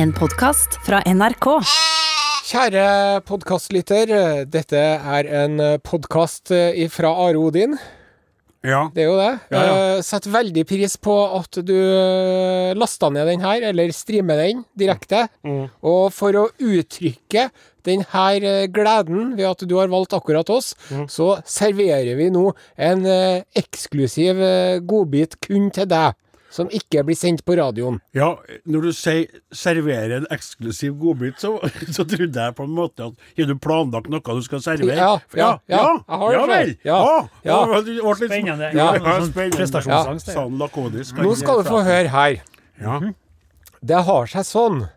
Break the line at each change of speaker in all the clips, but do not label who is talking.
En podkast fra NRK.
Kjære podkastlytter, dette er en podkast fra Are Odin.
Ja.
Det er jo det.
Ja, ja.
Eh, Setter veldig pris på at du eh, lasta ned den her, eller streamer den direkte.
Mm.
Og for å uttrykke den her eh, gleden ved at du har valgt akkurat oss,
Mm.
så serverer vi nå en eh, eksklusiv eh, godbit kun til deg, som ikke blir sendt på radioen.
ja. Når du sier 'servere en eksklusiv godbit', så, så trodde jeg på en måte at Har du planlagt noe du skal servere?
Ja, ja,
ja,
ja, jeg har det
ja
selv.
vel!
Ja,
Å,
ja.
å, det ble litt-
Spennende.
Ja,
Ja,
ja,
sånn
spennende.
prestasjonsangst,
Ja.
det.
Sånn lakonisk.
Nå skal du få høre her.
Ja.
Det har seg sånn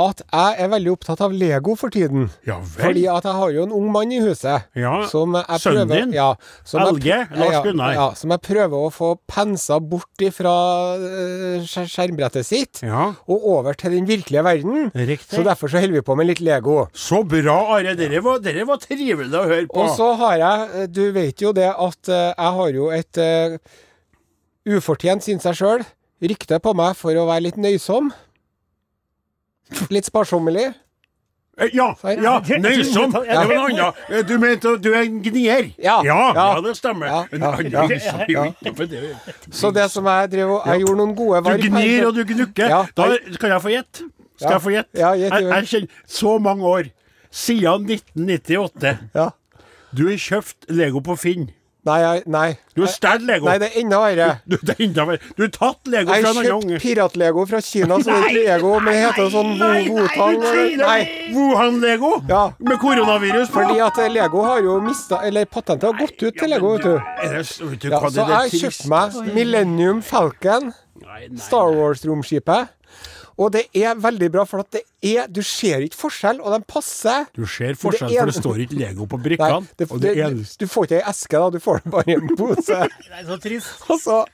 at jeg er veldig opptatt av Lego for tiden.
ja
Fordi
vel.
at jeg har jo en ung mann i huset.
Ja,
som jeg
sønnen
prøver,
din?
Ja, som jeg-
LG, Lars
ja,
Gunnar.
Ja, som jeg prøver å få pensa bort ifra eh, skjer- skjermbrettet sitt
Ja.
og over til den virkelige verden.
Riktig.
Så derfor så holder vi på med litt Lego.
Så bra, Are. Dere var, dere var trivelig å høre på.
Og så har jeg eh, Du vet jo det at eh, jeg har jo et eh, ufortjent, syns jeg sjøl, rykte på meg for å være litt nøysom. Litt sparsommelig.
Eh, Ja,
Sorry.
ja,
Jeg-
nøysom.
jeg-
Det var noe annet. Eh, Du mente at du er en gnier?
Ja,
ja,
ja.
det stemmer.
Ja,
En
ja,
annen
ja.
nøysom er jo ikke- men det er jo-
Så det som jeg drev og Jeg gjorde noen gode
Du gnir og du gnukker.
Ja.
Da kan jeg få gjett. Skal
Ja.
jeg få gjett?
Ja, gjett,
jeg,
gjett.
jeg kjenner så mange år. Siden 1998.
Ja.
Du har kjøpt Lego på Finn.
Nei, jeg, nei.
Du har stjålet Lego.
Nei, det er enda verre.
Du, det er enda verre. Du har tatt Lego
Jeg
fra en
har
annen
kjøpt
unge.
piratlego fra Kina, så det er ikke Lego, men det heter sånn Wo- Wotang eller- Nei.
Wuhan-Lego?
Ja.
Med koronavirus på?
Fordi at eh, Lego har jo mista Eller patentet har gått ut til Lego, vet du.
Er det, vet du
Ja,
hva det
så
er
jeg kjøpte meg Millennium Falcon, Star Wars-romskipet. Og det er veldig bra, for at det er Du ser ikke forskjell, og de passer.
Du ser forskjellen,
Det er-
for det står ikke Lego på
Nei,
brikkene.
det,
og det
det,
eneste
du får ikke ei eske, da. Du får det bare i en pose.
Det er så trist.
Og så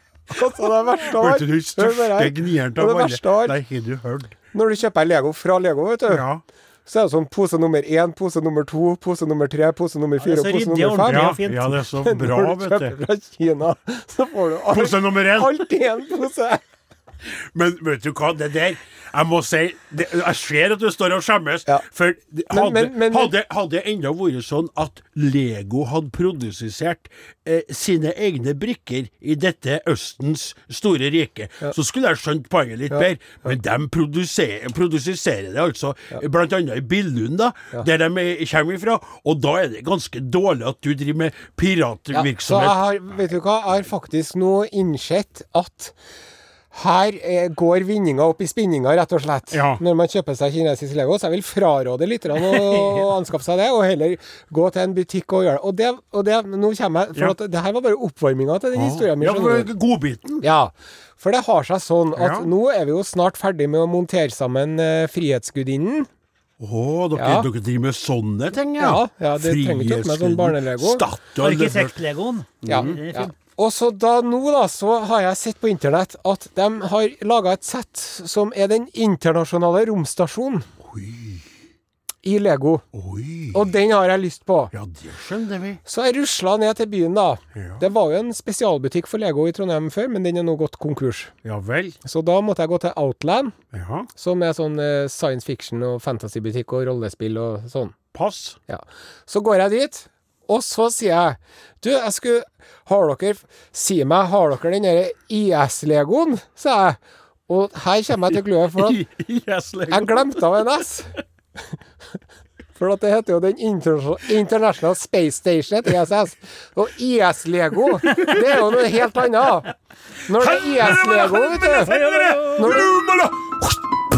og så det verste
Vet du, du
Hør bare
største
her. Og
gnieren av
det verste
alle.
av
Nei,
alt,
har du hørt?
når du kjøper Lego fra Lego, vet du
Ja.
Så er det sånn pose nummer én, pose nummer to, pose nummer tre, pose nummer fire
det er
og
så
pose
ryddig
nummer
og
fem.
ordentlig.
Ja,
Ja, fint.
ja, det er så
Når
bra,
du
vet
kjøper
du.
fra Kina, så får du alt-
Pose nummer én.
alt i en pose.
Men vet du hva, det der Jeg må si det, Jeg ser at du står og skjemmes.
Ja.
For det- hadde,
men- men-
hadde, hadde det enda vært sånn at Lego hadde produsert eh, sine egne brikker i dette Østens store rike, så skulle jeg skjønt poenget litt bedre. Men de produserer, produserer det altså, blant annet i Billund, da, der de er- kommer ifra. Og da er det ganske dårlig at du driver med
Så jeg
piratvirksomhet.
har, vet du hva, jeg har faktisk nå innsett at her eh, går vinninga opp i spinninga, rett og slett,
Ja.
når man kjøper seg kinesisk Lego. Så jeg vil fraråde litt grann å, å anskaffe seg det, og heller gå til en butikk og gjøre det. Og det, og det nå kommer jeg For
Ja.
at det her var bare oppvarminga til den historien min.
Ja,
skjønner du.
for godbiten.
Ja, for det har seg sånn at
Ja.
nå er vi jo snart ferdig med å montere sammen eh, Frihetsgudinnen.
Å, dere,
Ja.
dere driver med sånne ting, ja?
Ja, ja, det trenger ikke å ta med sånn
Frihetsguden,
barnelego.
Statue og løver.
Arkitektlegoen.
Ja.
Mm.
Det er
ja.
fint.
Og så da nå, da, så har jeg sett på internett at de har laga et sett som er den internasjonale romstasjonen i Lego.
Oi.
Og den har jeg lyst på.
Ja, det skjønner vi.
Så jeg rusla ned til byen, da.
Ja.
Det var jo en spesialbutikk for Lego i Trondheim før, men den er nå gått konkurs.
Ja vel.
Så da måtte jeg gå til Outland,
Ja.
som er sånn eh, science fiction og fantasybutikk og rollespill og sånn.
Pass.
Ja. Så går jeg dit, og så sier jeg Du, jeg skulle Har dere Si meg, har dere den derre IS-legoen? sa jeg. Og her kommer jeg til clouet, for at
yes, Lego.
jeg glemte av en S. For at det heter jo den Inter- International Space Station, heter ISS. Og IS-lego, det er jo noe helt annet. Når det er IS-lego, vet du Når du
Lumala!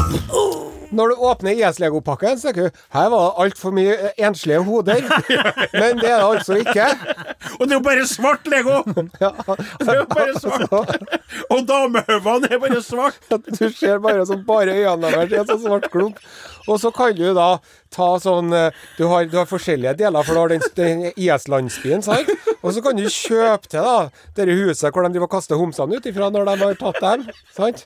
når du åpner IS-legopakken, så tenker du her var det altfor mye eh, enslige hoder. Men det er det altså ikke.
Og det er jo bare svart Lego!
Ja,
Det er jo bare svart. Og damehøvene er bare svart.
du ser bare sånn bare øynene deres i en sånn svart klump. Og så kan du da ta sånn eh, Du har, du har forskjellige deler, for du har den, den IS-landsbyen, sant? Og så kan du kjøpe til da dette huset hvor de driver og kaster homsene ut ifra når de har tatt dem, sant?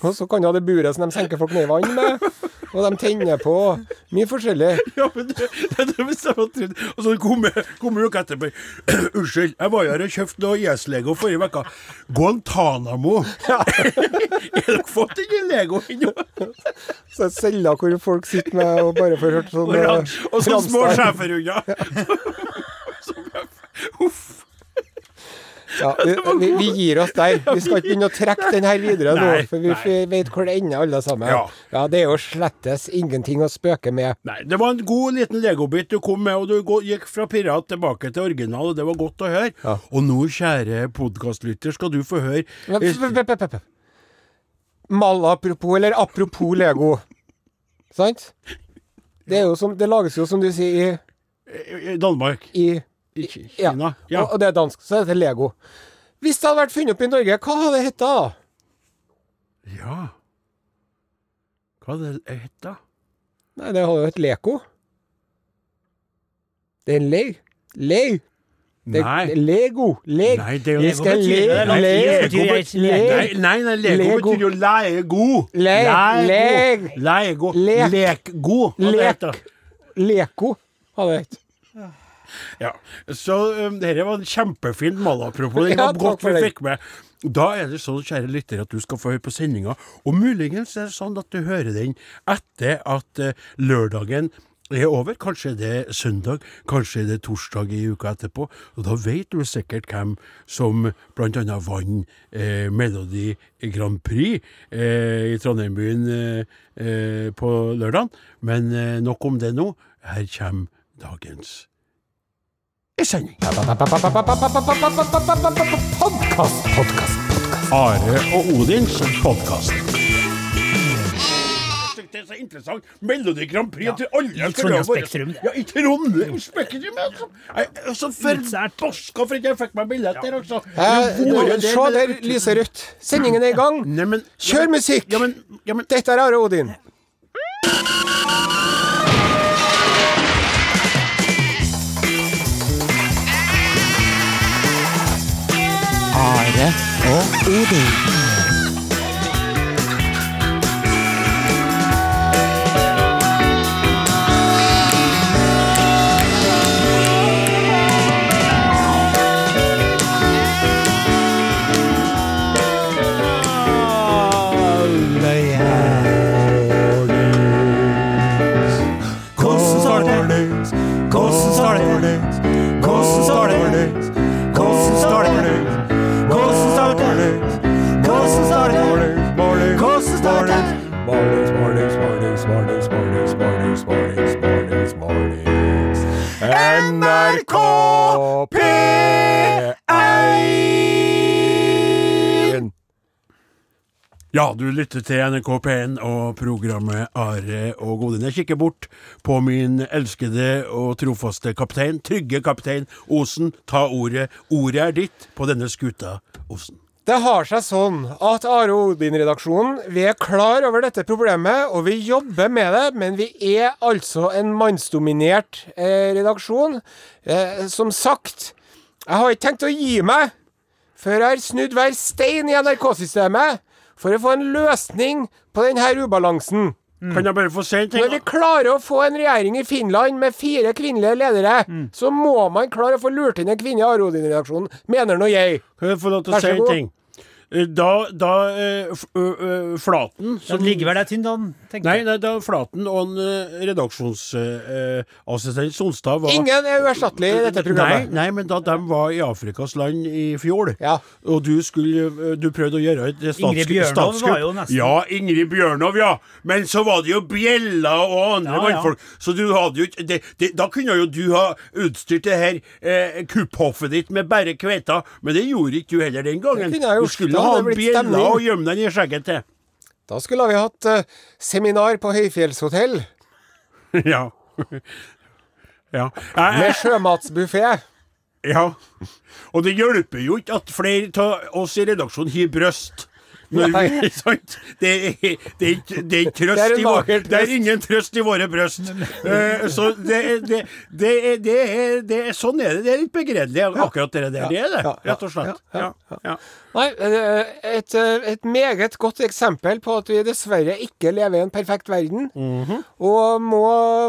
Og så kan du ha det buret som de senker folk ned i vann med. og de tenner på. Mye forskjellig.
Ja, men det, det, det hvis jeg hadde trodd Og så kommer kom uka etterpå. Unnskyld, jeg var her og kjøpte noe IS-lego forrige uke. Guantánamo. er dere fått den Lego ennå?
Så det er celler hvor folk sitter med og bare får hørt sånn
Og ran-
eh,
og så små
Rammstein.
schæferhunder. Som jeg- Uff.
Ja, vi, vi, vi gir oss der. Vi skal ikke begynne å trekke den her videre nå,
Nei,
for vi
nei.
vet hvor det ender, alle sammen.
Ja.
Det er jo slettes ingenting å spøke med.
Nei, det var en god liten legobit du kom med, og du gå- gikk fra pirat tilbake til original, og det var godt å høre.
Ja.
Og nå, kjære podkastlytter, skal du få høre eh,
Men, p- p- p- p- p- Malapropos, eller apropos Lego. Sant? Det, er jo som, det lages jo, som du sier,
eh, Danmark.
i, i
I Ki-
ja.
Kina. Ja.
Og, og det er dansk, så heter det Lego. Hvis det hadde vært funnet opp i Norge, hva hadde det hett da?
ja. Hva det het det?
Nei, det hadde jo hett Leko. Det er en leir. Leir. Det, det er
Nei.
Lego. Leg.
Nei, det er jo-
Jeg skal le,
Lego betyr-
le,
Lego betyr-
Nei,
le,
nei, nei lego,
Lego.
betyr jo lego.
Le- leg.
Lego.
Lek.
Lekgo. hva det
Lek.
heter.
Leko hadde det hett.
Ja, så um, dette var en kjempefin malapropos. Det
Ja,
var
takk
godt
for
vi
den.
fikk med. Da er det sånn, kjære lytter, at du skal få høre på sendinga. Og muligens er det sånn at du hører den etter at eh, lørdagen er over. Kanskje det er søndag, kanskje det er torsdag i uka etterpå. Og da vet du sikkert hvem som bl.a. vant eh, Melodi Grand Prix eh, i Trondheimbyen eh, eh, på lørdag. Men eh, nok om det nå. Her kommer dagens i sending.
Podkast, podkast.
Are og Odins podkast. Det er så interessant. Melodi Grand Prix til alle
I
skulle ha vært-
Trondheim Spektrum.
Ja, i Trondheim Spektrum. altså. Nei, Altså,
Utsært.
forbaska for ikke jeg fikk meg billett der, altså. Jeg bor jo
Eh, Se
men-
der, lyset rødt. Sendingen er i gang.
Nei, men-
Kjør musikk!
Ja, men, ja, men
Dette er Are Odin.
Are og Odin.
Hvordan starter det? Hvordan starter det? Hvordan starter det? Hvordan starter det? Hvordan starter det? Hvordan starter det? Hvordan starter det? NRK
P1.
Ja, du lytter til NRK P1 og programmet Are og Odin. Jeg kikker bort på min elskede og trofaste kaptein, trygge kaptein Osen. Ta ordet. Ordet er ditt på denne skuta, Osen.
Det har seg sånn at Are og Odin-redaksjonen vi er klar over dette problemet, og vi jobber med det, men vi er altså en mannsdominert eh, redaksjon. Eh, som sagt, jeg har ikke tenkt å gi meg før jeg har snudd hver stein i NRK-systemet for å få en løsning på denne ubalansen.
Mm. Kan jeg bare få si en ting?
Når vi klarer å få en regjering i Finland med fire kvinnelige ledere, så må man klare å få lurt inn en kvinne i Are Odin-redaksjonen, mener nå jeg.
Kan jeg få lov til
Vær
å
så
si en
god.
ting? Eh, Da, da eh, f- ø, ø, Flaten
Mm,
Den ligger vel der tynn, da, tenker
Nei,
jeg.
nei, da Flaten og eh, redaksjonsassistent eh, Sonstad var
Ingen er uerstattelig i dette
Nei,
programmet.
nei, men da de var i Afrikas land i fjor,
Ja.
og du skulle eh, Du prøvde å gjøre et statskupp
Ingrid Bjørnov var
statskupp.
jo nesten-
Ja, Ingrid Bjørnov, ja. Men så var det jo bjella og andre
Ja, ja.
mannfolk. Så du hadde jo ikke det, det, Da kunne jo du ha utstyrt det her eh, kupphoffet ditt med bare kveita, men det gjorde ikke du heller den gangen.
Det kunne jeg gjort.
Du skulle
Da
ha
hadde det blitt
bjella
stemning.
og gjemme den i skjegget til.
Da skulle vi hatt eh, seminar på høyfjellshotell
ja. ja. Jeg- jeg-
med sjømatsbuffé.
Ja. Og det hjelper jo ikke at flere av oss i redaksjonen har brøst. Når vi, sant? Det, er, det, er, ikke- det er ikke trøst
Det er en
i vår-
mager
Det er
trøst.
ingen trøst i våre bryst. Eh, så det, er- det, det, er, det, er, det er Sånn er det. Det er litt begredelig, akkurat det der. Det er det,
Ja, ja,
rett og slett. Ja, ja.
Nei, eh, et, eh, et meget godt eksempel på at vi dessverre ikke lever i en perfekt verden, og må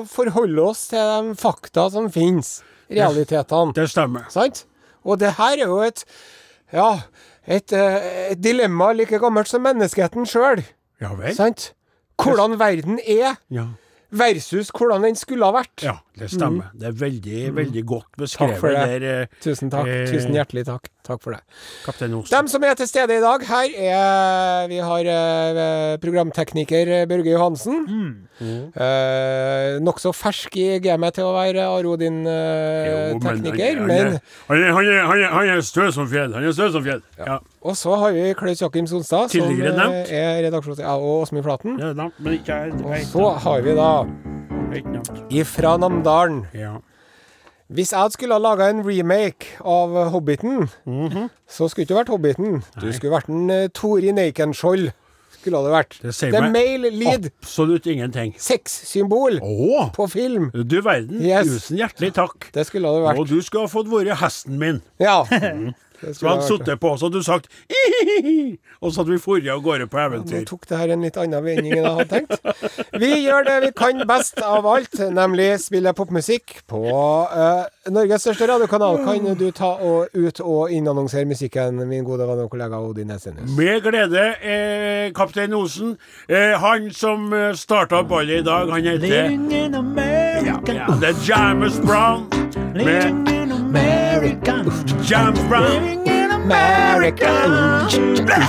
forholde oss til de fakta som finnes, realitetene.
Det stemmer.
Sant? Og det her er jo et Ja, et, eh, et dilemma like gammelt som menneskeheten sjøl.
Ja vel?
Sant? Hvordan verden er,
Ja.
versus hvordan den skulle ha vært.
ja, det stemmer. Det er veldig, veldig godt
Mm.
beskrevet
Takk for det.
der, eh,
Tusen takk.
Eh.
Tusen hjertelig takk. Takk for det.
kaptein Osen.
Dem som er til stede i dag her, er Vi har eh, programtekniker Børge Johansen. Mm. Eh, Nokså fersk i gamet til å være Aro din eh,
Jo, men han-
tekniker,
han
men
er- han er- han er- han er- Han er stø som fjell. Han er stø som fjell. Ja.
Og så har vi Klaus Jakim Sonstad, som
Tidligere
eh,
nevnt.
er redaksjons... Ja, og Åsmund Flaten.
Det er langt, men ikke jeg- jeg- jeg-
Så har vi da
ikke langt.
ifra Namdalen.
Ja.
Hvis jeg skulle ha laga en remake av Hobbiten,
Mhm.
så skulle det ikke vært Hobbiten. Du skulle vært en eh, Tori Nakenskjold. Skulle det vært.
Det sier
The
meg
male lead.
Absolutt ingenting.
Sexsymbol
Å!
på film.
Du verden.
Yes.
Tusen hjertelig takk.
Det skulle det vært.
Og du skulle ha fått vært hesten min.
Ja. Det
Mm. Så
skulle
hadde
det
han
vært.
sittet på oss, og du sagt «Ihihihi», Og så hadde vi dratt av gårde på
Nå
eventyr.
tok det her en litt annen vending enn jeg hadde tenkt. Vi gjør det vi kan best av alt, nemlig spille popmusikk på eh, Norges største radiokanal. Kan du ta og ut og innannonsere musikken, min gode venn og kollega Odin Esenius?
Med glede, eh, kaptein Osen. Eh, han som eh, starta ballet i dag, han heter
Living in
ja,
America.
ja, Det er James Brown.
Living
Med
in America.
James Brown.
Living in America.
America!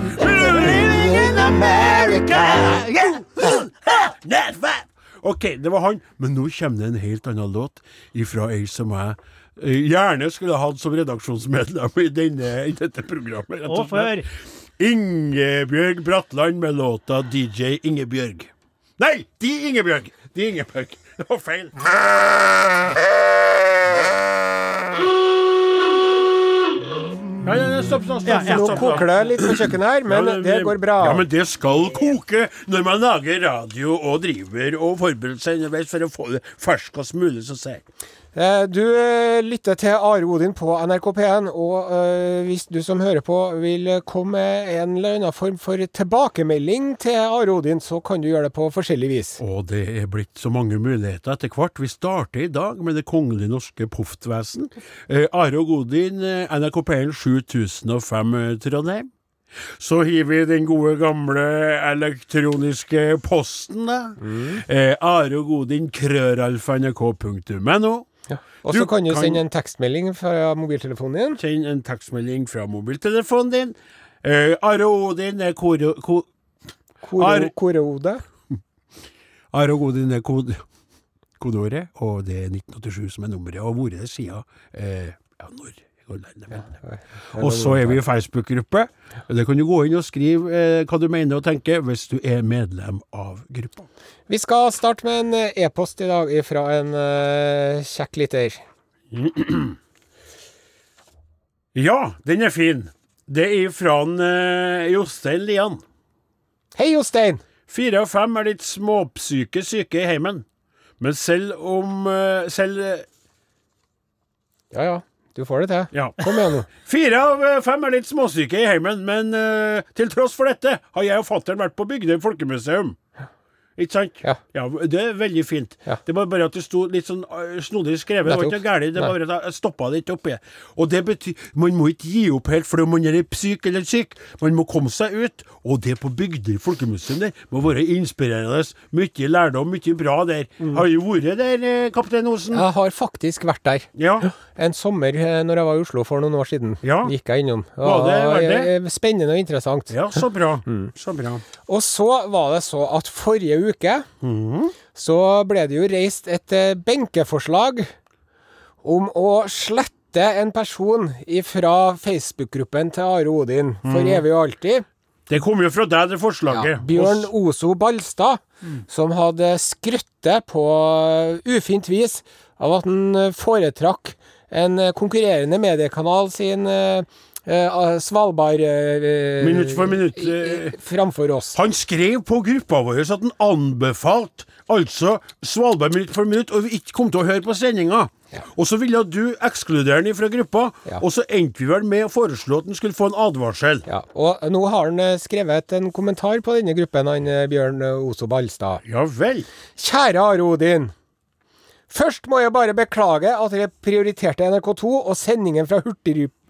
Living in America. Yeah. That's right. OK, det var han. Men nå kommer det en helt annen låt ifra ei som jeg eh, gjerne skulle hatt som redaksjonsmedlem i, denne, i dette programmet. rett
Og før.
Ingebjørg Bratland med låta DJ Ingebjørg. Nei, De Ingebjørg! De Ingebjørg. Det var feil. Ja, ja, ja, stopp, stopp, stopp.
Ja, ja,
stopp,
Nå
stopp, stopp.
koker det litt på kjøkkenet her, men
Ja,
det går bra.
Ja, men det skal koke når man lager radio og driver og forbereder seg underveis for å få det ferskest mulig, som sier.
Eh, Du eh, lytter til Are Odin på NRK P1, og eh, hvis du som hører på vil eh, komme med en eller annen form for tilbakemelding til Are Odin, så kan du gjøre det på forskjellig vis.
Og det er blitt så mange muligheter etter hvert. Vi starter i dag med Det kongelige norske proftvesen. Eh, Are og Godin, eh, NRK P1 7005 eh, Trondheim. Så har vi den gode gamle elektroniske posten, da. Eh, Are og Godin, krøralfa.nrk.no.
Og
Du
så kan du
kan-
sende en tekstmelding fra mobiltelefonen din.
Send en tekstmelding fra mobiltelefonen din. Eh, Are og Odin er koro... ko-
Koro-
Are-
Koreode.
Are og Godin er kod kodeåret, og det er 1987 som er nummeret. Og hvor er det sida? Eh, ja, når? Jeg går lei meg. Og så er vi i Facebook-gruppe. Der kan du gå inn og skrive eh, hva du mener og tenker, hvis du er medlem av gruppa.
Vi skal starte med en eh, e-post i dag fra en eh, kjekk lytter.
Ja, den er fin. Det er fra en, eh, Jostein Lian.
Hei, Jostein!
Fire av fem er litt småpsyke syke i heimen. Men selv om eh, Selv eh,
Ja ja, du får det til.
Ja.
Kom igjen nå.
Fire av eh, fem er litt småsyke i heimen, men eh, til tross for dette har jeg og fattern vært på Bygdøy folkemuseum. Ikke sant?
Ja.
Det er veldig fint.
Ja.
Det var bare at det sto litt sånn eh, snodig skrevet. Det var ikke noe
Nettopp.
galt. Det var bare at jeg stoppa det ikke oppi. Og det betyr Man må ikke gi opp helt fordi man er syk eller syk. Man må komme seg ut. Og det på Bygdøy folkemuseum der må være inspirerende. Mye lærdom, mye bra der.
Mm.
Har jo vært der, eh, kaptein Osen.
Jeg har faktisk vært der.
Ja.
En sommer eh, når jeg var i Oslo for noen år siden,
Ja.
gikk jeg innom.
Var det verdt det?
eh, Spennende og interessant.
ja, så bra.
Mm.
Så bra.
Og så var det så at forrige uke
Mhm.
så ble det jo reist et eh, benkeforslag om å slette en person ifra Facebook-gruppen til Are Odin for
Mhm.
evig og alltid.
Det kom jo fra deg, det forslaget.
Bjørn
Og s-
Oso Balstad,
Mm.
som hadde skrøttet på eh, ufint vis av at han eh, foretrakk en eh, konkurrerende mediekanal sin eh, eh, Svalbard eh,
Minutt for minutt,
i- i-
eh.
framfor oss.
Han skrev på gruppa vår at han anbefalte altså Svalbard minutt for minutt, og vi ikke kom til å høre på sendinga. Og så ville du ekskludere han fra gruppa,
Ja.
og så endte vi vel med å foreslå at han skulle få en advarsel.
Ja, og nå har han eh, skrevet en kommentar på denne gruppen, han eh, Bjørn eh, Oso Balstad.
Ja vel.
Kjære Are Odin. Først må jeg bare beklage at dere prioriterte NRK2 og sendingen fra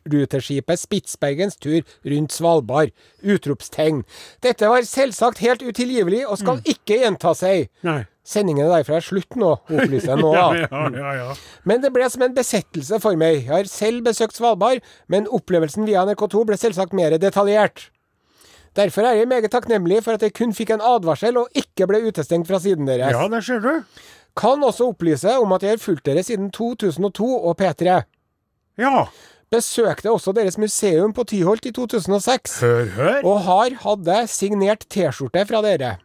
Hurtigruteskipet Spitsbergens tur rundt Svalbard. Utropstegn. Dette var selvsagt helt utilgivelig og
Mm.
skal ikke gjenta seg.
Nei.
Sendingen er derfra slutt nå, opplyser jeg nå.
Ja,
da.
ja, ja, ja.
Men det ble som en besettelse for meg. Jeg har selv besøkt Svalbard, men opplevelsen via NRK2 ble selvsagt mer detaljert. Derfor er jeg meget takknemlig for at jeg kun fikk en advarsel og ikke ble utestengt fra siden deres.
ja der ser du.
Kan også opplyse om at jeg har fulgt dere siden 2002 og P3.
Ja.
Besøkte også deres museum på Tyholt i 2006,
Hør, hør.
og har hadde signert T-skjorte fra dere.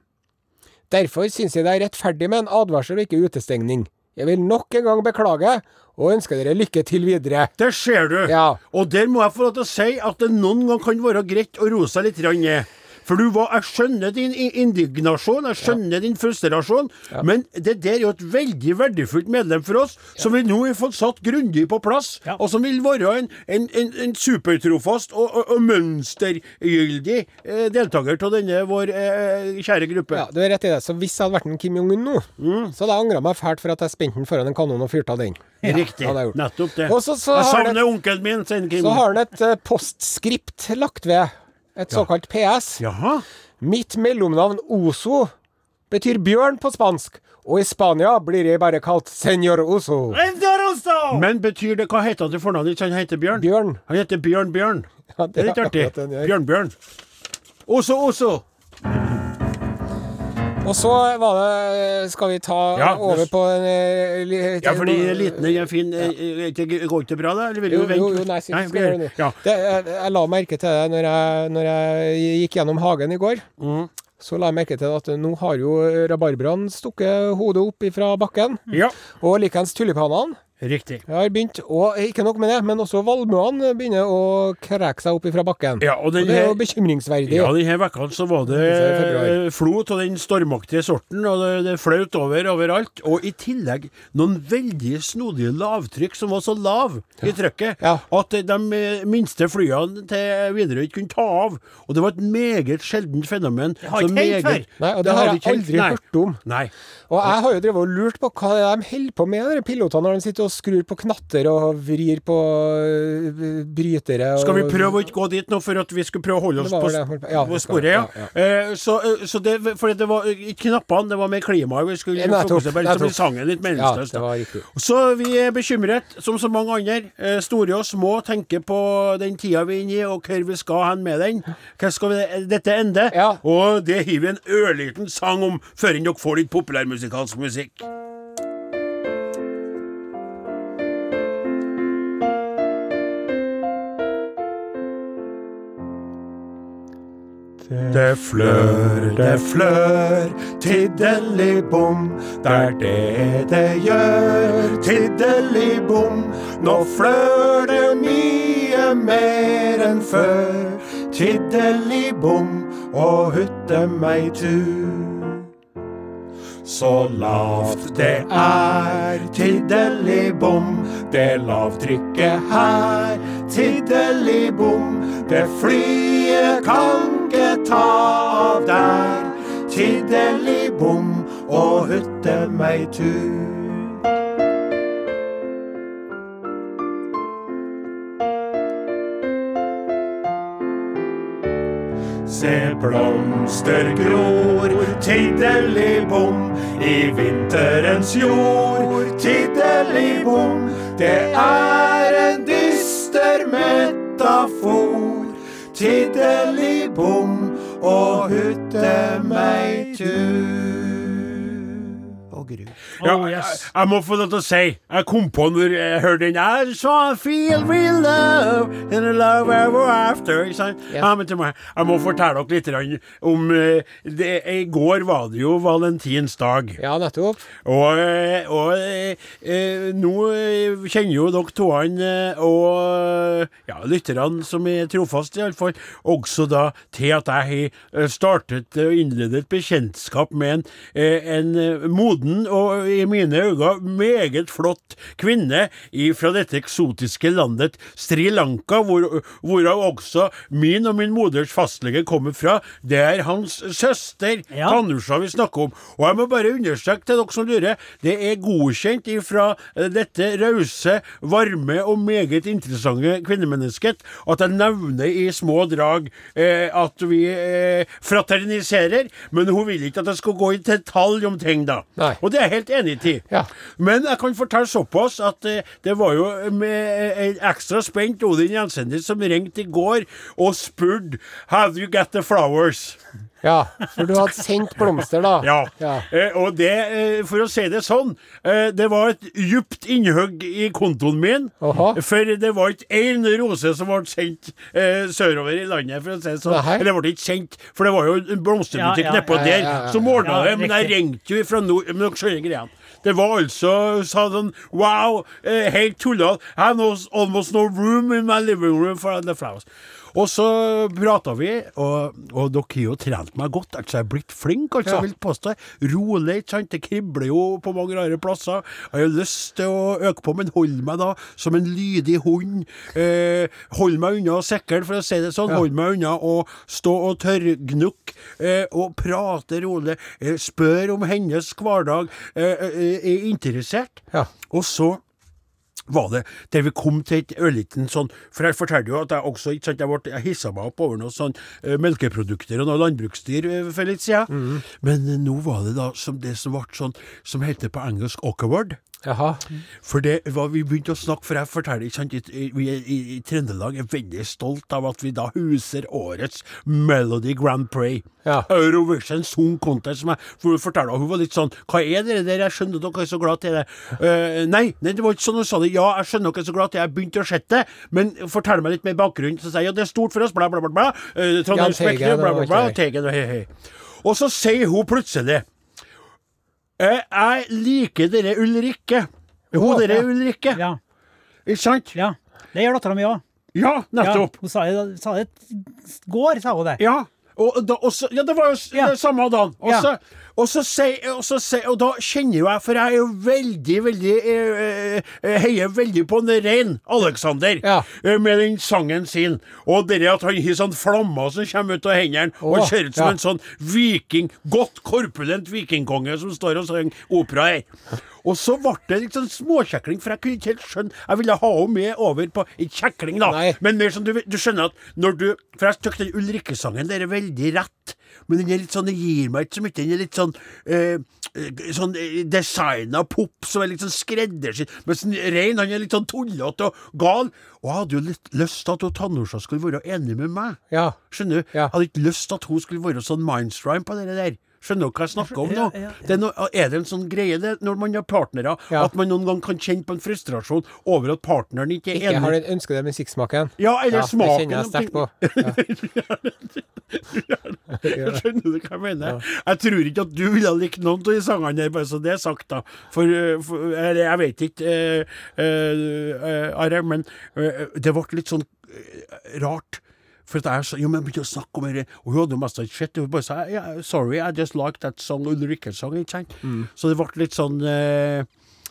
Derfor syns jeg det er rettferdig med en advarsel og ikke utestengning. Jeg vil nok en gang beklage, og ønsker dere lykke til videre.
Der ser du.
Ja.
Og der må jeg få lov til å si at det noen gang kan være greit å roe seg litt grann ned. For du var, Jeg skjønner din i- indignasjon, jeg skjønner din frustrasjon, men det der er jo et veldig verdifullt medlem for oss, som vi nå har fått satt grundig på plass,
Ja.
og som vil være en, en, en, en supertrofast og, og, og mønstergyldig eh, deltaker av denne vår eh, kjære gruppe.
Ja, du er rett i det. Så hvis jeg hadde vært en Kim Jong-un nå,
Mm.
så hadde jeg angra meg fælt for at jeg spente den foran en kanon og fyrte av den.
Riktig.
Ja, det er gjort.
Nettopp det.
Og så- så
jeg
har det-
savner onkelen min, sier Kim.
Så har han et eh, postskript lagt ved. Et såkalt PS.
Jaha.
Mitt mellomnavn Oso betyr bjørn på spansk, og i Spania blir jeg bare kalt Senor Oso.
Men betyr det Hva heter han til fornavn? Ikke han heter Bjørn?
Bjørn.
Han heter Bjørn Bjørn.
Ja,
det er litt artig.
akkurat den jeg gjør.
Bjørn Bjørn. Også, også.
Og så var det Skal vi ta
Ja, det-
over på en eh, li-
Ja, fordi den er liten, den er fin. Eh, eh, ikke- Går ikke det bra, da? Eller vil
Jo,
du vente?
jo, jo, nei, sikkert skal jeg gjøre
vi-
det nå.
Ja.
Det, jeg, jeg la merke til det når jeg, når jeg gikk gjennom hagen i går.
Mm.
Så la jeg merke til at nå har jo rabarbraen stukket hodet opp fra bakken.
ja.
Og likeens tulipanene.
Riktig.
Jeg har begynt, og ikke nok med det, men også valmuene begynner å kreke seg opp fra bakken.
Ja, og den
det er
her-
jo bekymringsverdig.
Ja, denne vekka så var det
er februar.
eh, flot av den stormaktige sorten, og det, det flaut over overalt. Og i tillegg noen veldig snodige lavtrykk som var så lav i trykket
Ja.
at de eh, minste flyene til Widerøe ikke kunne ta av. Og det var et meget sjeldent fenomen.
har
så
ikke hengt
meget-
før.
Nei, og det
Det
har
hadde
jeg
ikke hengt,
aldri
nei.
hørt om.
Nei.
Og jeg har jo drevet og lurt på hva det er de holder på med, de pilotene, når de sitter og skrur på knatter og vrir på øh, brytere. Og,
Skal vi prøve å ikke gå dit nå, for at vi skulle prøve å holde oss
Det var
på,
vel det jeg holdt på- ja,
på
vi skal-
sporet? Ja.
ja,
Eh, så, eh, så det, for det var eh, ikke knappene, det var mer klimaet vi skulle
Ja, nettopp,
fokusere på. Ellers så
nettopp.
blir sangen litt
Ja,
meningsløs.
det
da.
var riktig.
så vi er bekymret, som så mange andre. Eh, store og små tenker på den tida vi er inne i, og hvor vi skal hen med den. Hva skal vi, dette ende?
Ja.
Og det hiver vi en ørliten sang om, før dere får litt populærmusikalsk musikk. Det flør, det flør, tiddeli-bom. Det er det det gjør, tiddeli-bom. Nå flør det mye mer enn før. Tiddeli-bom og hutte meg tur. Så lavt det er, tiddeli-bom. Det lavtrykket her, tiddeli-bom. Det flyet kan ikke ta av der. Tiddeli-bom og hutte meg tur. Se blomster gror, tiddeli-bom, i vinterens jord, tiddeli-bom. Det er en dyster metafor, tiddeli-bom og hutte meg tur.
Og
Fagerud.
Ja,
Oh,
jeg,
yes.
jeg må få lov til å si Jeg kom på når jeg hørte den I saw I feel real love And the love ever after Ikke sant? Ja, men til meg, jeg må fortelle dere litt grann om eh, det, I går var det jo valentinsdag
Ja, nettopp.
og, eh, og eh, eh, nå eh, kjenner jo dere toene eh, og eh, ja, lytterne som er trofaste, iallfall, også da til at jeg har eh, startet eh, og innledet bekjentskap med en, eh, en eh, moden og i mine øyne meget flott kvinne fra dette eksotiske landet Sri Lanka, hvor, hvorav også min og min moders fastlege kommer fra. Det er hans søster,
Ja.
Tanne Andersson vi snakker om. Og jeg må bare understreke til dere som lurer, det er godkjent ifra eh, dette rause, varme og meget interessante kvinnemennesket at jeg nevner i små drag eh, at vi eh, fraterniserer, men hun vil ikke at jeg skal gå i detalj om ting, da.
Nei.
Og det er jeg helt enig i.
Ja.
Men jeg kan fortelle såpass at eh, det var jo med eh, en ekstra spent Odin Jensenis som ringte i går og spurte Have you got the flowers?
Ja, for du hadde sendt blomster, da.
Ja.
ja.
Eh, og det, eh, for å si det sånn, eh, det var et djupt innhugg i kontoen min.
Aha.
For det var ikke én rose som ble sendt eh, sørover i landet, for å si det sånn.
Nei.
Eller det ble ikke sendt, for det var jo en blomsterbutikk
Ja, ja,
nedpå
ja,
der
ja, ja.
som ordna
Ja,
det. Men jeg
riktig.
ringte jo fra nord... Men dere skjønner greia. Det var altså sa sånn Wow, eh, helt tullete. I have no- almost no room in my living room for the flowers. Og så prata vi, og, og dere har jo trent meg godt. Altså, jeg er blitt flink, altså. Jeg vil påstå Rolig, ikke sant. Det kribler jo på mange rare plasser. Jeg har jo lyst til å øke på, men hold meg da som en lydig hund. Eh, hold meg unna sekkelen, for å si det sånn. Hold meg unna å stå og tørrgnukke eh, og prate rolig. Eh, spør om hennes hverdag. Eh, eh, er interessert.
Ja.
Og så var det der vi kom til et ørliten sånn For jeg fortalte jo at jeg også ikke sant, jeg, ble, jeg hissa meg opp over noen sånn eh, melkeprodukter og noen landbruksdyr eh, for litt siden. Men eh, nå var det da som det som ble sånn som heter på engelsk awkward.
Jaha.
For det var vi begynte å snakke, for jeg forteller ikke sant, i- i- vi er i, i Trøndelag er veldig stolt av at vi da huser årets Melody Grand Prix.
Ja.
Eurovision Song Contest, som jeg for hun fortalte, og hun var litt sånn Hva er det der, jeg skjønner dere er så glad til det. Eh, nei, nei, det var ikke sånn hun sa det. Ja, jeg skjønner dere er så glad til det, jeg begynte å sette det, men fortell meg litt mer bakgrunn. Så sier jeg ja, det er stort for oss, bla, bla, bla. bla. Eh, Trondheim
Jahn Teigen,
Spektrum, bla, bla,
det var
bla.
ikke
Teigen og hei, hei. Og så sier hun plutselig eh, Jeg liker dere Ulrikke. Hun
Ja.
dere Ulrikke.
Ja,
Ikke sant?
ja. Det gjør dattera mi òg.
Ja,
Ja,
nettopp.
hun sa det, sa det går, sa hun det.
Ja. Og da, og så- ja, det var jo s-
Ja.
det samme dagen. Og
Ja.
så, og, så sier- og, så sier- og da kjenner jo jeg, for jeg er jo veldig, veldig eh, eh, Heier veldig på den rein, Alexander,
Ja.
eh, med den sangen sin. Og det at han har sånn flammer som kommer ut av hendene, og
Åh,
han ser ut som
ja.
en sånn viking, godt korpulent vikingkonge som står og synger opera her. Og så ble det litt sånn småkjekling, for jeg kunne ikke helt skjønne Jeg ville ha henne med over på Ikke kjekling, da,
Nei.
men mer sånn du, du skjønner at når du For jeg syns den Ulrikke-sangen der er veldig rett, men den er litt sånn Den gir meg ikke så mye. Den er litt sånn eh, eh, Sånn designa pop som er litt sånn skreddersydd. Mens den Rein han er litt sånn tullete og gal. Og jeg hadde jo litt lyst til at hun Tannorsa skulle være enig med meg.
Ja.
Skjønner du?
Ja.
Jeg hadde ikke lyst til at hun skulle være sånn mindstrime på det der. Skjønner du hva jeg snakker om nå?
Ja, ja, ja.
Det er, no, er det en sånn greie det, når man har partnere,
Ja.
at man noen gang kan kjenne på en frustrasjon over at partneren ikke er
Ikke
enig?
har den ønskede musikksmaken.
Ja, eller
Det
smaken.
kjenner jeg
om ting-
sterkt på.
Skjønner du hva jeg mener? Jeg tror ikke at du ville ha likt noen av de sangene der, bare så det er sagt, da. For, eh, for Eller jeg vet ikke, eh, eh, Are, men eh, det ble litt sånn eh, rart. For at jeg sa, jo, men begynte å snakke om det, og hun hadde jo mest av et shit. Hun bare sa yeah, 'sorry, I just liked that song', Ulrikke-sang, ikke sant? Så det ble litt sånn eh,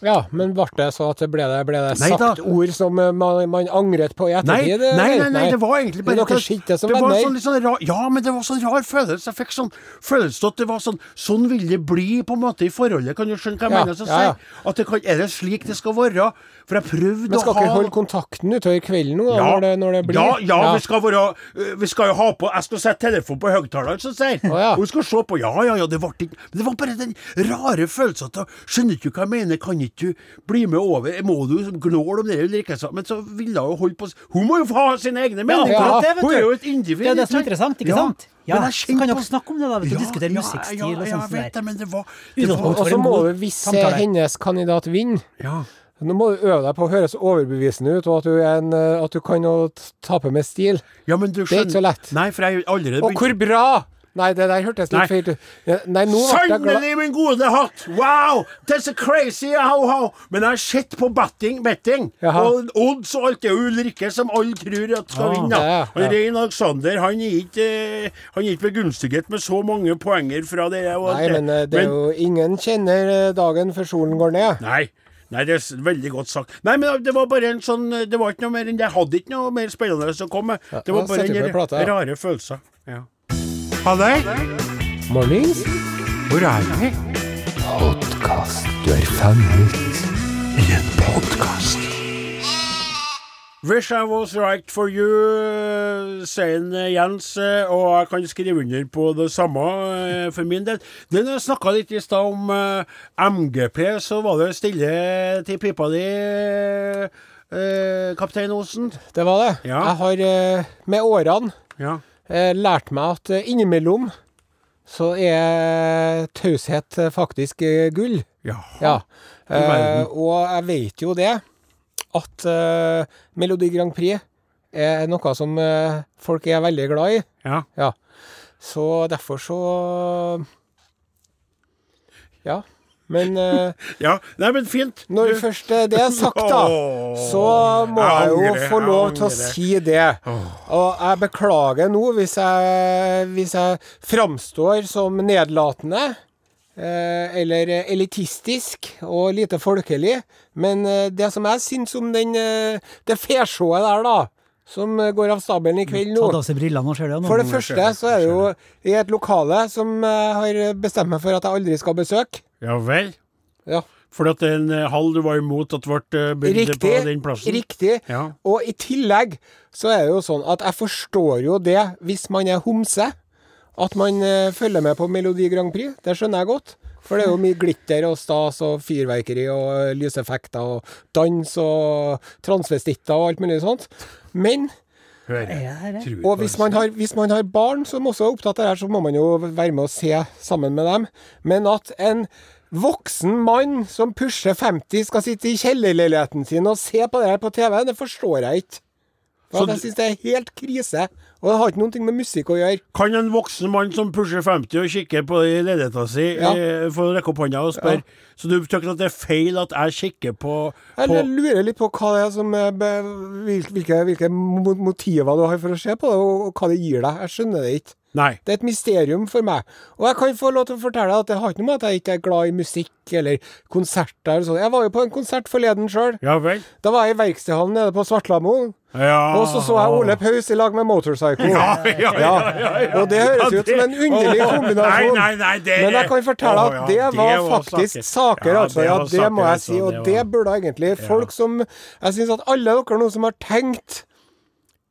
Ja, men ble det så at det ble det, ble det
Nei da.
sagt ord som eh, man, man angret på i
Nei,
ettertid?
nei,
eller?
nei, nei, det var egentlig bare
Men Dere
at-
skinte som
det var
venner?
sånn litt sånn rar, Ja, men det var sånn rar følelse. Jeg fikk sånn følelse at det var sånn Sånn vil det bli på en måte i forholdet. Kan du skjønne hva
Ja,
jeg mener? Så
ja, ja.
At det kan, er det slik det skal være? For jeg prøvde
Men
å
skal
ha
dere holde kontakten utover kvelden nå, da, når, det, når det blir?
ja, ja, Vi, skal være, øh, vi skal jo ha på Jeg skal sette telefonen på høyttaleren, som sier.
Å, ja.
Og vi skal se på Ja, ja, ja, det ble ikke Men Det var bare den rare følelsen at jeg skjønner ikke hva jeg mener, kan ikke du bli med over? Må du liksom gnåle om det Ulrikke sa? Men så ville hun jo holde på s- Hun må jo få ha sine egne meninger!
akkurat det, vet
hun
du.
er jo et individ.
Det er det som er
ikke sant?
interessant, ikke sant? Ja,
men jeg
så
kjenner
kan
på-
dere snakke om det da, vet du, diskutere musikkstil og
Ja,
sånn
jeg vet
der.
det, men det var det var-
Utgangspunkt
Og
for
så
en
må
god
du, hvis eh,
samtale.
hennes kandidat vinner
Ja.
Nå må du øve deg på å høres overbevisende ut, og at du, er en, eh, at du kan å t- tape med stil.
ja, men du
Det er
skjønner
ikke så lett.
Nei, for jeg har allerede
Og hvor bra! Nei, det der hørtes
Nei.
litt feil ut. Ja, Nei, nå ble jeg glad.
Sannelig, min gode hatt! Wow! That's a crazy how-how! Men jeg har sett på betting, betting
Jaha.
og odds og alt. Det er jo Ulrikke som alle tror at skal
Ah,
vinne.
ja, ja,
Og
ja.
Rein Alexander han er ikke eh, Han er ikke begunstiget med så mange poenger fra det. Og alt
Nei, men eh, det er jo ingen kjenner eh, dagen før solen går ned.
Nei. Nei, det er s- veldig godt sagt. Nei, men det var bare en sånn Det var ikke noe mer enn det. Jeg hadde ikke noe mer spennende å komme med. Det var
da
bare
setter vi på
en
en plate, ja.
rare følelser. Ja.
Halløy,
Mornings.
hvor er vi?
Wish I was right for you, sier en, eh, Jens, eh, og jeg kan skrive under på det samme eh, for min del. Det når jeg snakka litt i stad om eh, MGP, så var det stille til pipa di, eh, eh, kaptein Osen.
Det var det.
Ja.
Jeg har eh, med årene
Ja.
eh, lært meg at eh, innimellom så er taushet eh, faktisk eh, gull.
ja.
Ja. Eh,
verden.
og jeg vet jo det, at eh, Melodi Grand Prix er noe som eh, folk er veldig glad i.
ja.
Ja. Så derfor så Ja. Men eh,
Ja. Nei, men fint.
når
Du-
først eh, det er sagt, da,
Åh,
så må jeg jo
angrer,
få lov til å
angrer.
si det. Og jeg beklager nå hvis jeg, hvis jeg framstår som nedlatende. eh, Eller elitistisk og lite folkelig. Men eh, det som jeg syns om den, eh, det fesjået der, da, som eh, går av stabelen i kveld nå
Tatt av seg brillene og ser det nå.
For det første så er det jo i et lokale som jeg har bestemt meg for at jeg aldri skal besøke.
Ja vel.
Ja.
For at det er en eh, hall du var imot at ble bygd på
Riktig.
den plassen?
Riktig.
Ja.
Og i tillegg så er det jo sånn at jeg forstår jo det hvis man er homse. At man eh, følger med på Melodi Grand Prix. Det skjønner jeg godt. For det er jo mye glitter og stas og fyrverkeri og eh, lyseffekter og dans og transvestitter og alt mulig sånt. Men
Hører.
det
Tror
og
på
hvis
det.
man, har, hvis man har barn som også er opptatt av det her, så må man jo være med og se sammen med dem. Men at en voksen mann som pusher 50 skal sitte i kjellerleiligheten sin og se på det her på TV, det forstår jeg ikke. For
Så
at jeg
du-
syns det er helt krise. Og det har ikke noe med musikk å gjøre.
Kan en voksen mann som pusher 50 og kikker på det i ledigheta si,
Ja.
eh, få rekke opp hånda og spørre Så du tykker at det er feil at jeg kikker på, på
Jeg lurer litt på hva det er som eh, be- hvil- hvilke, hvilke mo- motiver du har for å se på det, og, og hva det gir deg. Jeg skjønner det ikke.
Nei.
Det er et mysterium for meg. Og jeg kan få lov til å fortelle deg at det har ikke noe med at jeg ikke er glad i musikk eller konserter eller sånn. Jeg var jo på en konsert forleden sjøl.
Ja vel?
Da var jeg i verkstedhallen nede på Svartlamoen,
Ja.
og så så jeg Ole Paus i lag med Motorcycle.
Ja, ja, ja, ja, ja.
Og det høres
Ja,
ut som en underlig
Åh,
kombinasjon.
Nei, nei, nei, det,
Men jeg kan fortelle
Åh,
at
ja,
det var
saker.
faktisk saker, altså. Ja,
var
det må
saker,
jeg si. Og
altså,
det
var-
burde egentlig folk som Jeg syns at alle dere nå som har tenkt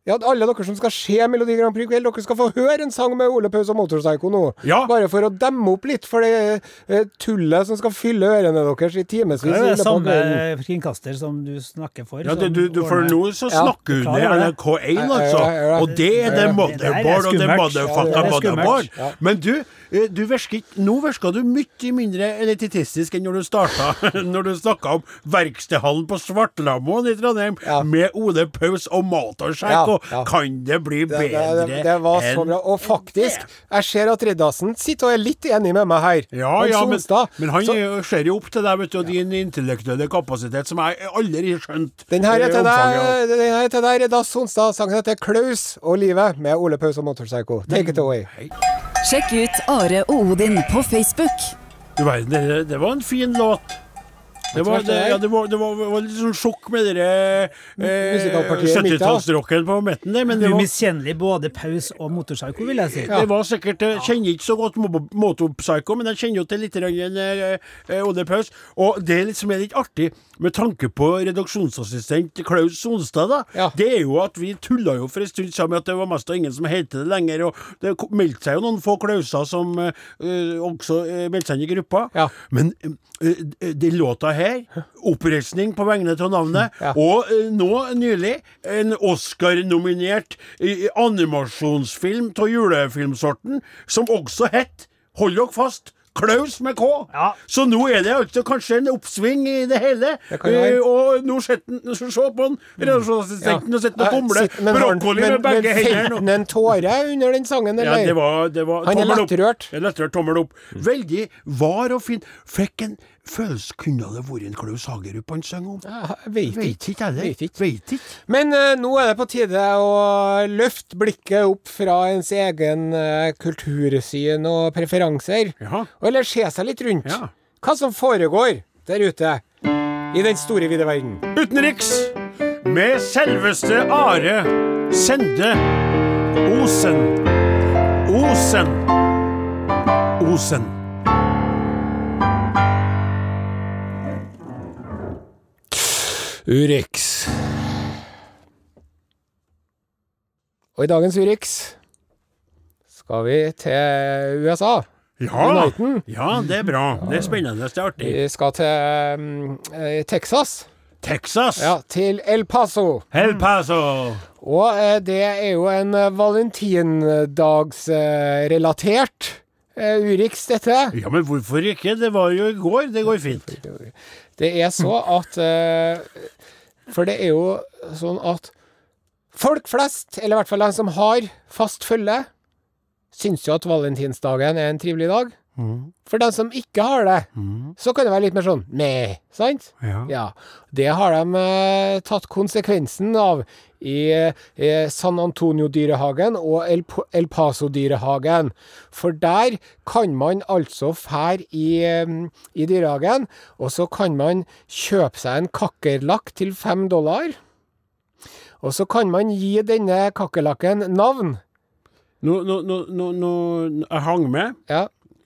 ja, at Alle dere som skal se Melodi Grand Prix i kveld, dere skal få høre en sang med Ole Paus og Motorpsycho nå.
Ja.
Bare for å demme opp litt for det eh, tullet som skal fylle ørene deres i timevis. i
Det er
løpet
det
av
samme
kvelden.
kringkaster som du snakker for.
Ja,
som
det, du, du, for
ordner-
nå så
Sånn Ja,
snakker hun i
beklager det.
NRK1,
ja,
altså.
ja, ja.
Og det er det
Ja, ja.
motherboard, og det er
Det er skummelt.
Ja,
motherfucka
det
er skummelt.
motherboard.
Ja.
Men du, eh, du virker ikke- nå virka du mye mindre elitistisk enn når du starta, når du snakka om verkstedhallen på Svartlamoen i Trondheim
Ja.
med Ole Paus og Motorsjekk,
Ja,
og
ja.
kan det bli
Det, det,
bedre
det, det var så
enn
bra. Og faktisk, jeg ser at Riddarsen sitter og er litt enig med meg her.
ja,
Hans
ja, men,
Sonstad.
men han
Så-
er jo- ser jo opp til deg, vet du, og din intellektuelle kapasitet, som jeg aldri har skjønt.
Den her er
eh,
til
omfanget
deg,
av.
den her er til deg Redda Sonstad. Sangen heter 'Klaus og livet' med Ole Paus og Motorpsycho. Take it away.
Sjekk ut Are og Odin på Facebook.
Du verden, det, det var en fin låt. Det var,
Vet du hva det
det,
er?
ja, det, var, det, var, det var litt sånn sjokk med dere eh,
musikalpartiet mitt, da.
70-tallsrocken på midten der, men det var,
Umiskjennelig både Paus og Motorpsycho, vil jeg si.
det var sikkert Jeg kjenner ikke så godt Mo- Motopsycho, men jeg kjenner jo til litt grann, eh, eh, Ole Paus. Og det litt som er litt artig, med tanke på redaksjonsassistent Klaus Sonstad, da,
Ja.
det er jo at vi tulla jo for en stund sammen med at det var mest av ingen som het det lenger, og det ko- meldte seg jo noen få Klauser som eh, eh, også eh, meldte seg inn i gruppa.
Ja.
Men eh, eh, den låta her. Oppreisning på vegne av navnet.
Ja.
Og eh, nå nylig en Oscar-nominert eh, animasjonsfilm av julefilmsorten som også het, hold dere fast, Klaus med K.
Ja.
Så nå er det altså kanskje en oppsving i det hele.
Det kan jo være. Mm.
Eh, og nå sitter han Se på han, redaksjonsassistenten, og sitter og
Ja,
bomler
sitt- men har den-
brokkoli med
men-
begge
men
hendene.
fant han en tåre under den sangen, eller?
Ja, det var, det var
Han er
tommel opp.
lettrørt.
Ja, Lettrørt tommel opp. Veldig var og fin. Fikk en følelse Kunne det vært en Klaus Hagerup han sang om?
Ja, jeg vet ikke.
Veit ikke, jeg
Vet
det.
ikke.
Veit ikke.
Men eh, nå er det på tide å løfte blikket opp fra ens egen eh, kultursyn og preferanser,
Ja.
og heller se seg litt rundt.
Ja.
Hva som foregår der ute i den store, vide verden.
Utenriks med selveste Are Sende Osen. Osen. Osen.
Urix. Og i dagens Urix skal vi til USA.
Ja,
Uniten.
ja, det er bra. Det er spennende. Det er artig.
Vi skal til mm, eh, Texas.
Texas.
Ja, til El Paso.
El Paso.
Og eh, det er jo en eh, valentindagsrelatert eh, Urix, dette.
Ja, men hvorfor ikke? Det var jo i går. Det går fint.
Det er så at eh, For det er jo sånn at folk flest, eller i hvert fall de som har fast følge, syns jo at valentinsdagen er en trivelig dag. For de som ikke har det, så kan det være litt mer sånn meh, sant?
Ja.
Ja, det har de eh, tatt konsekvensen av i eh, San Antonio-dyrehagen og El, Po- El Paso-dyrehagen. For der kan man altså fære i, eh, i dyrehagen, og så kan man kjøpe seg en kakkerlakk til fem dollar. Og så kan man gi denne kakkerlakken navn.
Nå, nå, nå, nå, nå Jeg hang med.
Ja,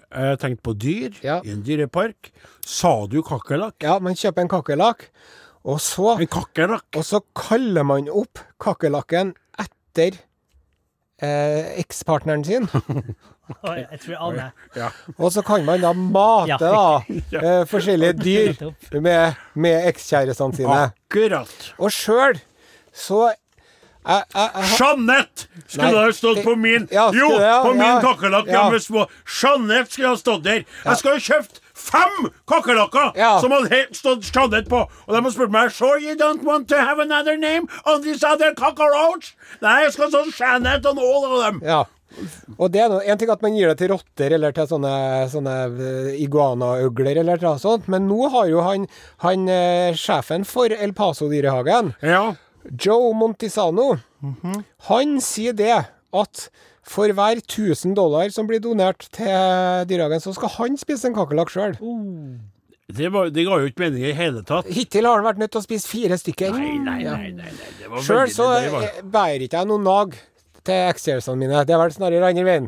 Jeg tenkte på dyr
Ja.
i en dyrepark. Sa du kakerlakk?
ja man kjøper en kakkerlakk, og så
En kakerlakk?
Og så kaller man opp kakerlakken etter eh, ekspartneren sin.
Oi, Jeg tror jeg aner.
Og så kan man da mate
Ja.
da, eh, forskjellige dyr med, med ekskjærestene sine.
Akkurat.
Og sjøl så jeg, jeg, jeg,
Jeanette skulle
Nei.
ha stått på min
Ja, skulle
Jo,
det, ja,
på min
ja.
kakerlakk! Ja.
Ja.
med små Jeanette skulle ha stått der! Jeg skal ha kjøpt fem kakerlakker
Ja.
som hadde helt stått Jeanette på! Og de har spurt meg Sure you don't want to have another name on this other cockroach? Nei, jeg skal ha sånn Jeanette on all of them!
ja. Og det er noe, en ting at man gir det til rotter eller til sånne, sånne eh, iguanaøgler eller noe sånt, men nå har jo han, han eh, sjefen for El Paso-dyrehagen
Ja.
Joe Montisano,
Mhm.
han sier det at for hver 1000 dollar som blir donert til dyrehagen, så skal han spise en kakerlakk sjøl.
Det, var, det ga jo ikke mening i hele tatt.
Hittil har han vært nødt til å spise fire stykker. Ja.
nei, nei, det var
Sjøl
veldig-
så
det var-
eh, bærer ikke jeg noe nag til ekskjærestene mine. Det er vel snarere andre veien.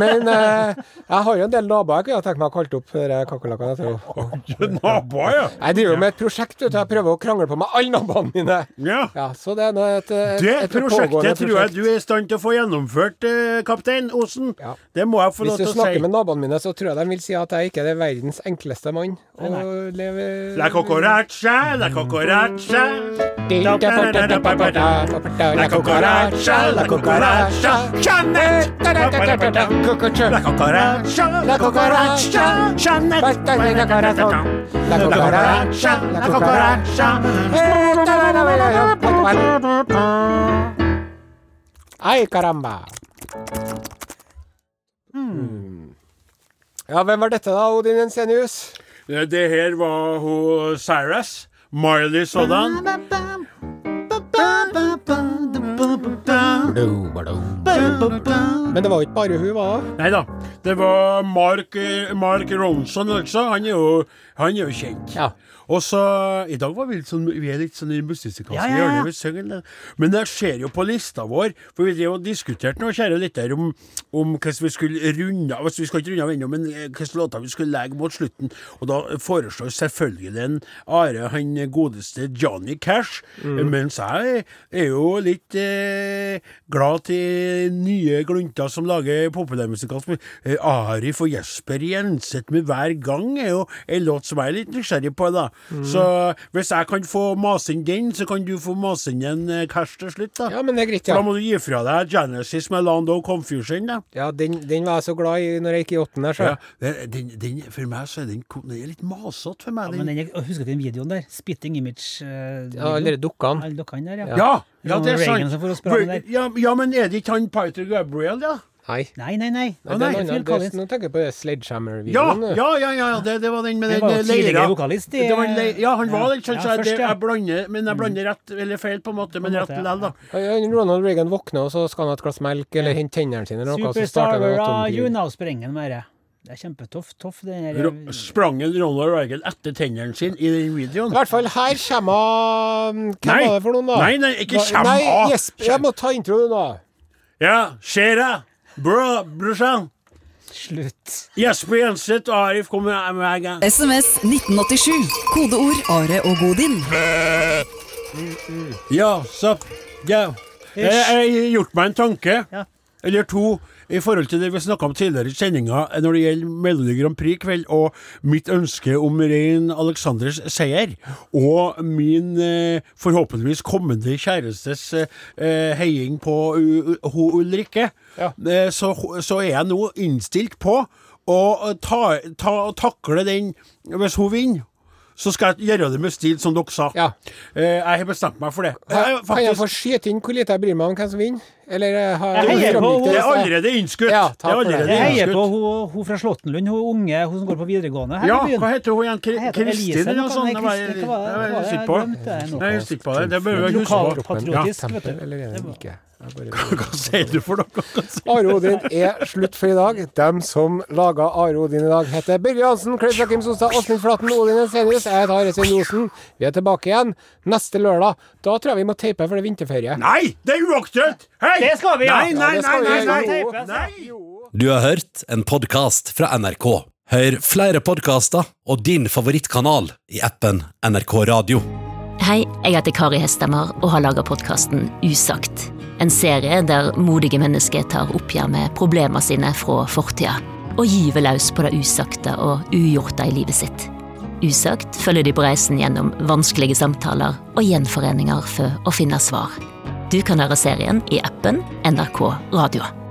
Men eh, jeg har jo en del naboer jeg kunne ha tenkt meg å kalle opp de kakerlakkene etter.
Naboer, ja.
Jeg driver jo med et prosjekt, vet du. Jeg prøver å krangle på meg alle naboene mine.
ja.
Ja, så det er nå et, et,
Det
et pågående
prosjektet tror jeg
prosjekt.
du er i stand til å få gjennomført, eh, kaptein Osen.
Ja.
Det må jeg få lov
Hvis du
til å
snakker
si.
med naboene mine, så tror jeg de vil si at jeg ikke er det verdens enkleste mann å leve
La cucaracha, la cucaracha. La cucaracha, la cucaracha. Jeanette! La cucaracha, la cucaracha. Jeanette! La cucaracha, la cucaracha.
Ai, caramba.
Hmm.
Ja, hvem var dette da, Odin Jensenius?
Eh, Det her var hun Cyrus. Marley sådan.
Men det var jo ikke bare hun, var det?
Nei da. Det var Mark, Mark Ronson, altså. Han er jo, han er jo kjent.
Ja.
Og så I dag var vi litt sånn Vi er litt sånn i musikalske
Ja, ja, ja.
hjørnet. Vi synger litt. Men jeg ser jo på lista vår, for vi drev og diskuterte nå, kjære lytter, om, om hvordan vi skulle runde av altså, Vi skal ikke runde av ennå, men eh, hvilke låter vi skulle legge mot slutten. Og da foreslår selvfølgelig en Are, han godeste Johnny Cash,
Mm.
mens jeg er jo litt eh, glad til nye glunter gutter som lager populærmusikalsk musikk. Eh, Arif og Jesper Jenseth med Hver gang er jo en låt som jeg er litt nysgjerrig på, da. Så hvis jeg kan få mase inn den, så kan du få mase inn en eh, cash til slutt, da.
Ja, men det er greit,
For
ja.
Da må du gi fra deg Genesis med Lando Confusion, da.
ja den, den var jeg så glad i når jeg gikk i åtten her, så.
Ja, den, den- den, for meg så er den, ko- den er litt masete for meg.
men
Den.
den, jeg husker du den videoen der? Spitting Image. Uh,
Ja, eller dukka han.
Dokkan der, ja.
Ja, ja, det er
Reagan
sant.
som får oss bra med
Bra-
der.
Ja, ja, men er det ikke han Piter Gabriel, da?
Nei.
Nei, nei, nei.
Nei, det er
nei,
noe
Phil
annet. Det-
Collins.
Nå tenker jeg på det
Ja,
Sledgehammer-videoen.
ja, ja, ja, ja det, det var den med
Det
den
var jo
eh, leira.
tidligere vokalist i-
Det var en lei- ja, han var det, ikke sant,
Ja,
så jeg,
først,
det,
ja. Mm.
jeg blander, men jeg blander rett eller feil, på en måte, men
en
rett
måte, ja.
likevel, da.
Han- Ronald Reagan våkner, og så skal han ha et glass melk eller hente tennene sine. Eller noe, og så
Superstar
starter det en
Vera,
atomkrig.
you now sprenger med det. Det er kjempetøff. Toff, den der.
Ro- Sprang en Ronald Reagan etter tennene sine i den videoen?
I hvert fall, her kommer um, Hvem
Nei.
var det for noen, da?
Nei, nei, ikke
Hva-
kjem
Nei,
av.
Jesper, jeg må ta introen, da.
Ja, ser jeg. Bra, brorsan.
eh, Slutt.
Jesper Jenseth og Arif kommer med en gang.
SMS 1987. Kodeord Are og Odin.
Ja, så ja. Jeg, jeg har gjort meg en tanke,
Ja.
eller to, i forhold til det vi snakka om tidligere i sendinga eh, når det gjelder Melodi Grand Prix i kveld, og mitt ønske om Rein Aleksanders seier, og min eh, forhåpentligvis kommende kjærestes eh, eh, heiing på U- U- ho Ulrikke,
Ja.
eh, så, så er jeg nå innstilt på å ta, ta, takle den hvis hun vinner. Så skal jeg gjøre det med stil, som dere sa.
Ja.
Eh, jeg har bestemt meg for det.
Her,
Jeg,
Kan jeg få
faktisk,
skyte inn hvor lite jeg bryr meg om hvem som vinner? Eller eh, har
Jeg heier på
framgikk
det er
henne.
i sted?
allerede innskutt.
Ja,
det
takk
er
for det.
allerede
Jeg heier på
innskutt.
hun, hun fra Slåttenlund, hun unge hun som går på videregående her
Ja,
i byen.
hva heter hun igjen? Kri-
Hva heter hun?
Kristin eller noe
Elise,
sånt?
noe
Jeg var-
sånt. Nei,
jeg
Kristin, hva var
var
det? Jeg
sikker på
glemte det nå.
Nei, jeg er sikker på det. Det bør jeg huske på.
Lokalpatriotisk,
Ja,
vet du.
tempel, eller er den ikke? Jeg bare-
Hva sier du for noe?
Are Odin er slutt for i dag. Dem som laga Are Odin i dag, heter Børre Johansen, Klaus Joakim Sonstad, Åsmund Flaten, Odin Ensenius. Jeg heter Are Svein Johnsen. Vi er tilbake igjen neste lørdag. Da tror jeg vi må teipe, for det er vinterferie.
Nei, det er uaktuelt! Hei!
Det skal vi, ja.
Nei, nei,
Ja, det
nei,
skal vi.
nei, nei,
Jo.
nei.
Du har hørt en podkast fra NRK. Hør flere podkaster og din favorittkanal i appen NRK Radio.
Hei, jeg heter Kari Hestemar og har laget podkasten Usagt. En serie der modige mennesker tar oppgjør med problemene sine fra fortida. Og gyver løs på det usagte og ugjorte i livet sitt. Usagt følger de på reisen gjennom vanskelige samtaler og gjenforeninger for å finne svar. Du kan høre serien i appen NRK Radio.